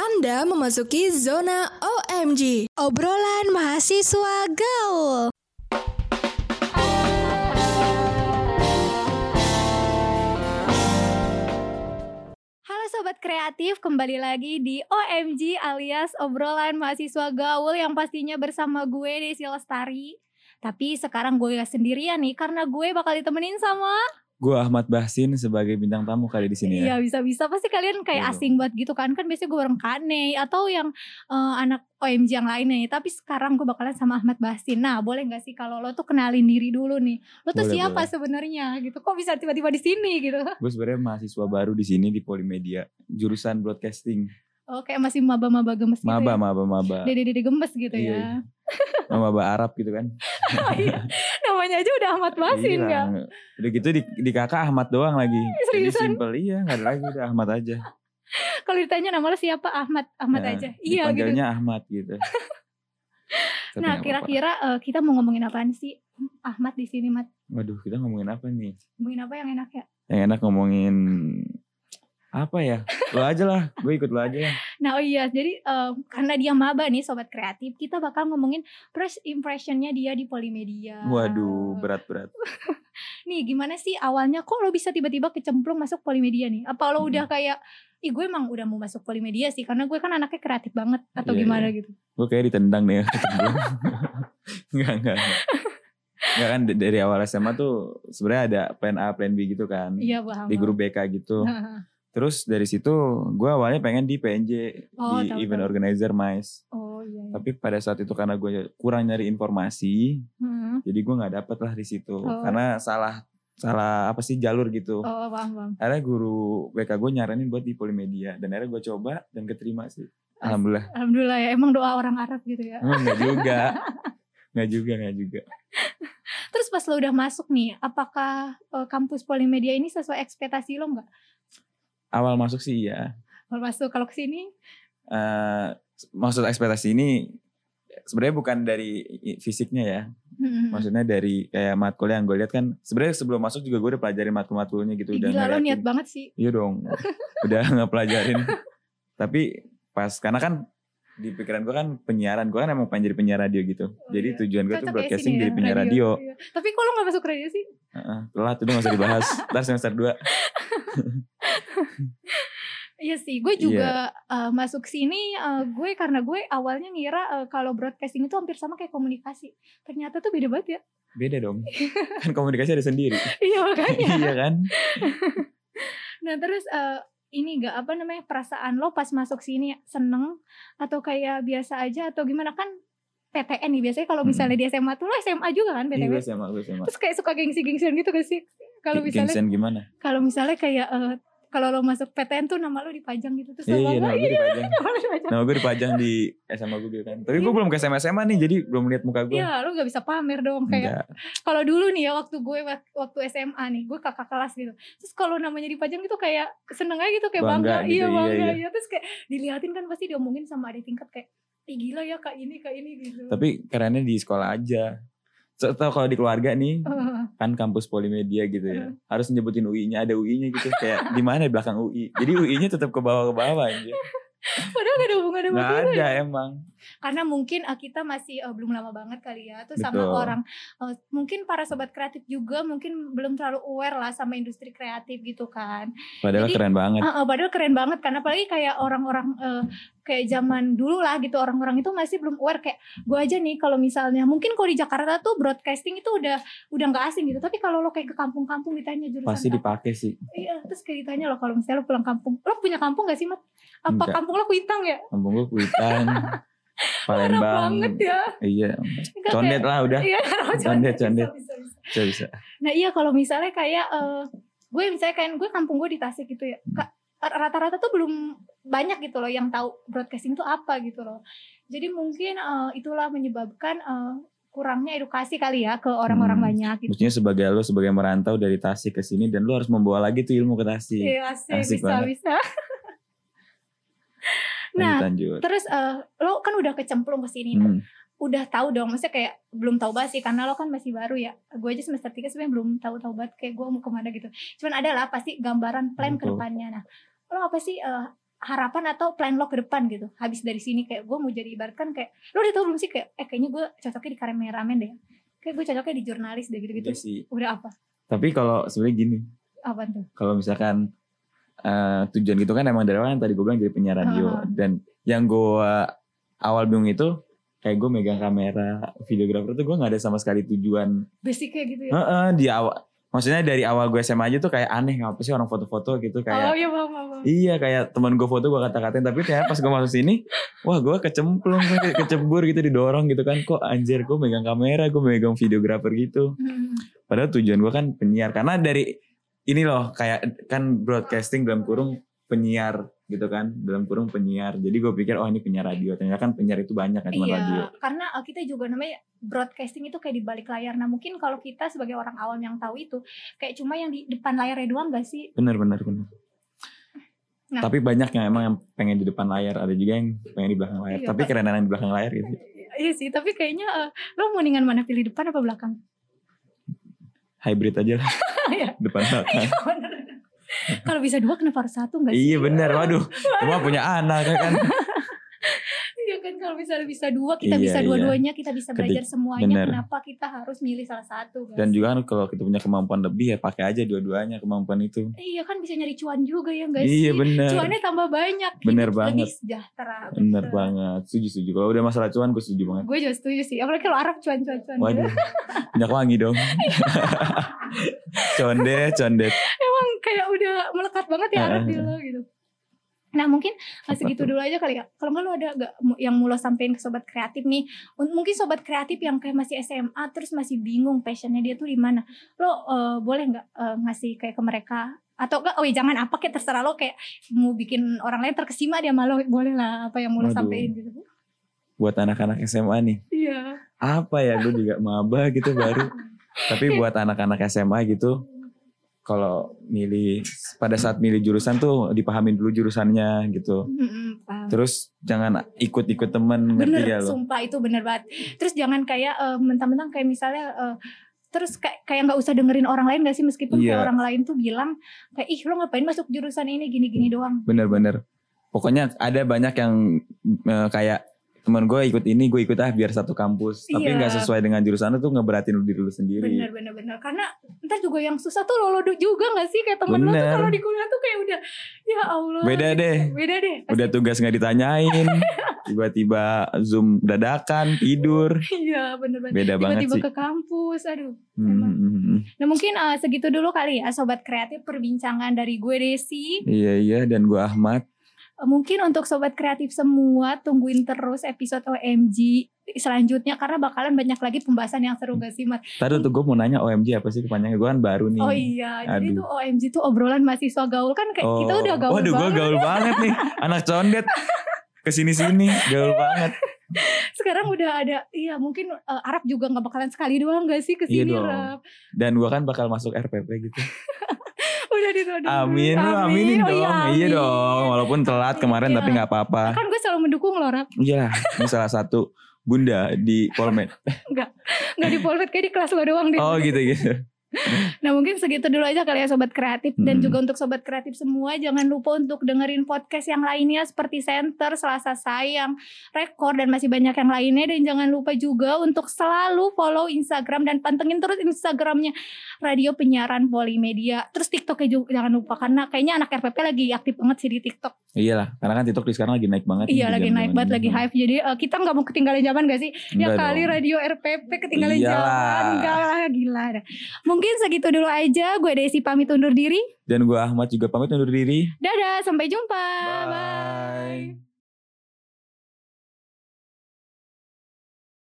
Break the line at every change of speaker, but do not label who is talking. Anda memasuki zona OMG, obrolan mahasiswa gaul.
Halo Sobat Kreatif, kembali lagi di OMG alias Obrolan Mahasiswa Gaul yang pastinya bersama gue Desi Lestari. Tapi sekarang gue gak sendirian nih karena gue bakal ditemenin sama
Gue Ahmad Bahsin sebagai bintang tamu kali di sini ya. Iya.
Iya bisa-bisa pasti kalian kayak
Waduh.
asing banget gitu kan Kan biasanya gue bareng Kane atau yang eh, anak OMG yang lainnya Tapi sekarang gue bakalan sama Ahmad Basin Nah boleh gak sih kalau lo tuh kenalin diri dulu nih Lo tuh
Boleh,
siapa
boleh.
sebenarnya gitu Kok bisa tiba-tiba di sini gitu
Gue sebenarnya mahasiswa baru di sini di Polimedia, jurusan broadcasting.
Oh kayak masih maba-maba gemes gitu
Maba,
ya
maba, maba.
Dede-dede gemes gitu
Iya,
ya Oh, iya.
iya. Maba Arab gitu kan.
namanya aja udah Ahmad Basin
Iya.
ya.
Udah gitu di, di kakak Ahmad doang lagi. Jadi
Seriusan?
simple iya, gak ada lagi udah Ahmad aja.
Kalau ditanya nama lo siapa Ahmad, Ahmad
Ya,
aja. Iya gitu.
Dipanggilnya Ahmad gitu. Tapi
Nah
nggak apa-apa.
kira-kira eh, kita mau ngomongin apaan sih Ahmad di sini Mat?
Waduh, kita ngomongin apa nih?
Ngomongin apa yang enak ya?
Yang enak ngomongin apa ya? Lo aja lah, gue ikut lo aja ya.
Nah oh iya jadi eh, karena dia maba nih sobat kreatif, kita bakal ngomongin first impressionnya dia di Polimedia.
Waduh, berat-berat.
Nih gimana sih awalnya kok lo bisa tiba-tiba kecemplung masuk Polimedia nih? Apa lo
Hmm.
udah kayak Ih gue emang udah mau masuk Polimedia sih karena gue kan anaknya kreatif banget atau
Iya,
gimana gitu.
gue kayak ditendang deh ya, nggak nggak nggak. Nggak kan d- dari awal SMA tuh sebenarnya ada plan A plan B gitu kan
Iya paham. Nah.
di grup BK gitu terus dari situ gue awalnya pengen di PNJ
Oh,
di
tahu,
event
tahu.
organizer MICE
Oh iya. iya.
tapi pada saat itu karena gue kurang nyari informasi
Hmm.
jadi gue nggak dapet lah di situ
Oh.
karena salah salah apa sih jalur gitu
Oh paham paham.
akhirnya guru BK gue nyaranin buat di polimedia dan akhirnya gue coba dan keterima sih alhamdulillah
Alhamdulillah ya emang doa orang Arab gitu ya.
Emang nggak juga nggak juga nggak juga
Terus pas lo udah masuk nih, apakah eh, kampus Polimedia ini sesuai ekspektasi lo nggak?
awal masuk sih ya
Kalau masuk kalau kesini,
Eh maksud ekspektasi ini sebenarnya bukan dari i- fisiknya ya
hmm,
maksudnya dari kayak matkul yang gue lihat kan sebenarnya sebelum masuk juga gue udah pelajarin matkul-matkulnya gitu
Ih,
udah
gila lo
ngeliatin.
niat banget sih.
iya dong udah nggak pelajarin tapi pas karena kan di pikiran gue kan penyiaran gue kan emang pengen jadi penyiar radio gitu jadi
iya.
tujuan gue
Cocok
tuh
ya
broadcasting
sini ya,
jadi penyiar radio,
Iya. Tapi kok lo nggak masuk radio sih?
Heeh, telat itu gak usah dibahas ntar semester 2
Iya sih, gue juga eh, masuk sini eh, gue karena gue awalnya ngira eh, kalau broadcasting itu hampir sama kayak komunikasi. Ternyata tuh beda banget ya.
beda dong kan komunikasi ada sendiri
iya makanya.
iya kan
Nah terus eh, ini gak apa namanya perasaan lo pas masuk sini seneng atau kayak biasa aja atau gimana kan PTN nih biasanya kalau misalnya di SMA tuh lo SMA juga kan
Hmm. iya
PTN
gue sama gue sama
terus kayak suka gengsi-gengsian gitu gak sih kalau misalnya
Gengsian gimana
kalau misalnya kayak eh, kalau lo masuk PTN tuh nama lo dipajang gitu terus
Iya,
lo bangga,
iya, nama gue
"Iya,
dipajang.
nama lo dipajang
Nama gue dipajang di SMA gue gitu kan. Tapi gue
Iya.
belum ke SMA SMA nih, jadi belum lihat muka gue.
Iya, lo gak bisa pamer dong kayak
Enggak.
kalau dulu nih ya waktu gue wak- waktu SMA nih gue kakak kelas gitu terus kalau namanya dipajang gitu kayak seneng aja gitu kayak bangga,
Bangga gitu,
iya
iya,
bangga
iya.
iya. terus kayak diliatin kan pasti diomongin sama adik tingkat kayak Ih gila ya kak ini kak ini gitu
Tapi kerennya di sekolah aja. So, tau kalau di keluarga nih,
Heeh.
kan kampus polimedia gitu ya. Harus nyebutin UI-nya, ada UI-nya gitu. Kayak di mana di belakang UI. Jadi UI-nya tetap ke bawah ke bawah aja.
Iya, padahal gak ada hubungan sama
Enggak
kita
ada
ya.
emang.
karena mungkin eh, kita masih eh, belum lama banget kali ya tuh sama
Betul.
orang eh, mungkin para sobat kreatif juga mungkin belum terlalu aware lah sama industri kreatif gitu kan
Padahal
Jadi,
keren banget.
Heeh, padahal keren banget karena apalagi kayak orang-orang eh, kayak zaman dulu lah gitu orang-orang itu masih belum aware kayak gue aja nih kalau misalnya mungkin kalau di Jakarta tuh broadcasting itu udah udah nggak asing gitu tapi kalau lo kayak ke kampung-kampung ditanya jurusan
Pasti
apa,
dipakai sih.
iya, terus kayak ditanya lo kalau misalnya lo pulang kampung lo punya kampung gak sih mat apa
Enggak.
kampung lo kuitang ya
Kampung gue Kuitang.
parah
Palembang.
banget ya
Iya.
Enggak,
Condet
kayak-
lah udah.
Iya,
Condet,
bisa,
condet.
bisa, bisa.
Bisa, bisa.
Nah iya kalau misalnya kayak eh, gue misalnya kayak gue kampung gue di Tasik gitu ya. Ka- Rata-rata tuh belum banyak gitu loh yang tahu broadcasting itu apa gitu loh. Jadi mungkin eh, itulah menyebabkan eh, kurangnya edukasi kali ya ke orang-orang
Hmm.
banyak gitu.
Maksudnya sebagai lo sebagai merantau dari Tasik ke sini dan lo harus membawa lagi tuh ilmu ke Tasik.
Iya, asik,
Asik
bisa
banget.
bisa. nah,
Lanjut, lanjut.
terus eh, lo kan udah kecemplung ke sini.
Hmm.
udah tahu dong maksudnya kayak belum tahu banget sih karena lo kan masih baru ya gue aja semester 3 sebenarnya belum tahu-tahu banget kayak gue mau kemana gitu cuman ada lah pasti gambaran plan ke
Betul.
depannya nah lo apa sih eh, harapan atau plan lo ke depan gitu habis dari sini kayak gue mau jadi ibaratkan kayak lo udah tau belum sih kayak eh kayaknya gue cocoknya di kameramen deh kayak gue cocoknya di jurnalis deh gitu gitu
Iya sih.
udah apa
Tapi kalau sebenarnya gini,
apa tuh
kalau misalkan eh, tujuan gitu kan emang dari awal yang tadi gue bilang jadi penyiar
Ah.
radio dan yang gue awal bingung itu kayak gue megang kamera videografer tuh gue nggak ada sama sekali tujuan
basic kayak gitu ya
Heeh, di awal maksudnya dari awal gue SMA aja tuh kayak aneh ngapa sih orang foto-foto
oh
gitu kayak
iya paham paham paham.
Iya kayak teman gue foto gue kata-katain tapi ternyata pas gue masuk sini wah gue kecemplung gue kayak kecebur gitu didorong gitu kan kok anjir gue megang kamera gue megang videografer gitu
Hmm.
Padahal tujuan gue kan penyiar karena dari ini loh kayak kan broadcasting dalam kurung penyiar gitu kan dalam kurung penyiar. Jadi gue pikir oh ini penyiar radio. Ternyata kan penyiar itu banyak kan cuma radio.
Iya, karena eh, kita juga namanya broadcasting itu kayak di balik layar. Nah mungkin kalau kita sebagai orang awam yang tahu itu, kayak cuma yang di depan layarnya doang gak sih?
Bener bener bener.
Nah.
Tapi banyak yang emang yang pengen di depan layar, ada juga yang pengen di belakang layar.
Iya,
Tapi
Pak.
kerenan yang di belakang layar gitu.
Iya sih, tapi kayaknya eh, lo mendingan mana pilih depan apa belakang?
Hybrid aja lah.
Iya.
depan belakang.
kalau bisa dua kenapa harus satu gak sih?
iya bener, waduh. Cuma punya anak ya kan.
Iya kan kalau misalnya bisa dua, kita
Iya,
bisa
iya.
dua-duanya, kita bisa
Ketik-
belajar semuanya.
bener.
Kenapa kita harus milih salah satu? guys?
Dan juga kan kalau kita punya kemampuan lebih ya pakai aja dua-duanya kemampuan itu.
iya kan bisa nyari cuan juga ya guys.
Iya bener.
Cuannya tambah banyak.
Bener
hidup
banget.
Lebih sejahtera.
Bener banget, setuju setuju. Kalau udah masalah cuan gue setuju banget.
Gue juga setuju sih. Apalagi kalau Arab cuan-cuan-cuan.
Waduh, minyak wangi dong. condet, condet.
emang kayak udah melekat banget ya Arab di lo gitu. Nah mungkin
Apa
segitu
tuh?
dulu aja kali ya. Kalau nggak lo ada gak yang mau lo sampein ke sobat kreatif nih? Un- Mungkin sobat kreatif yang kayak masih SMA terus masih bingung passionnya dia tuh di mana? Lo eh, boleh nggak eh, ngasih kayak ke mereka? Atau enggak? Oh iya, jangan apa kayak terserah lo kayak mau bikin orang lain terkesima dia malu boleh lah apa yang mau lo
Waduh.
sampein gitu.
Buat anak-anak SMA nih,
Iya.
apa ya gue juga maba gitu baru. Tapi buat anak-anak SMA gitu, kalau milih pada saat milih jurusan tuh dipahamin dulu jurusannya gitu.
Mm-mm, paham.
Terus jangan ikut-ikut temen ngerti
bener
gak lo?
sumpah itu bener banget terus jangan kayak eh, mentang-mentang kayak misalnya eh, terus kayak kayak nggak usah dengerin orang lain gak sih meskipun kayak
Iya.
orang lain tuh bilang kayak ih lo ngapain masuk jurusan ini gini-gini doang
Bener-bener. Pokoknya ada banyak yang eh, kayak teman gue ikut ini, gue ikut ah biar satu kampus. Tapi
Iya.
nggak sesuai dengan jurusan lu tuh ngeberatin lu diri lu sendiri.
bener bener bener karena ntar juga yang susah tuh lo lo du- juga gak sih kayak temen lo tuh
Bener.
kalau di kuliah tuh kayak udah ya allah
Beda deh.
beda deh Pasti-
Udah tugas nggak ditanyain, tiba-tiba zoom dadakan tidur,
iya bener bener
beda banget
tiba-tiba
sih.
ke kampus aduh
Hmm, hmm, hmm.
nah mungkin eh, segitu dulu kali ya sobat kreatif perbincangan dari gue Desi
Iya iya dan gue Ahmad.
Eh, mungkin untuk sobat kreatif semua tungguin terus episode OMG selanjutnya karena bakalan banyak lagi pembahasan yang seru gak sih Mat?
Tadi tuh gue mau nanya OMG apa sih kepanjangan gue kan baru nih.
Oh iya, jadi
Aduh.
tuh OMG tuh obrolan mahasiswa gaul kan kayak kita
Oh.
udah gaul
Waduh gue
banget.
gaul banget nih, anak condet kesini sini gaul banget.
Sekarang udah ada iya mungkin eh, Arab juga nggak bakalan sekali doang gak sih ke
Iya
sini
dong.
Arab.
Dan gue kan bakal masuk RPP gitu.
Udah ditodong.
Amin, lu aminin
Oh
dong.
iya, amin.
Iya dong, walaupun telat kemarin
Iya.
tapi nggak apa-apa.
Kan gue selalu mendukung loh Arab.
Iya lah, ini salah satu bunda di Polmed.
Gak di polvet kayak di kelas lo doang deh.
Oh gitu gitu.
Nah mungkin segitu dulu aja kali ya Sobat Kreatif Dan
Hmm.
juga untuk Sobat Kreatif semua Jangan lupa untuk dengerin podcast yang lainnya Seperti Center, Selasa Sayang, Rekor dan masih banyak yang lainnya Dan jangan lupa juga untuk selalu follow Instagram Dan pantengin terus Instagramnya Radio Penyiaran Polimedia Terus TikToknya juga jangan lupa Karena kayaknya anak RPP lagi aktif banget sih di TikTok
Iya lah, karena kan TikTok di sekarang lagi naik banget.
Iya lagi naik banget, lagi hype Jadi eh, kita nggak mau ketinggalan zaman gak sih? Ya kali radio RPP ketinggalan
Iyalah.
jalan Enggak lah gila dah. Mungkin segitu dulu aja Gue Desi pamit undur diri
Dan gue Ahmad juga pamit undur diri.
Dadah sampai jumpa
Bye.
Bye.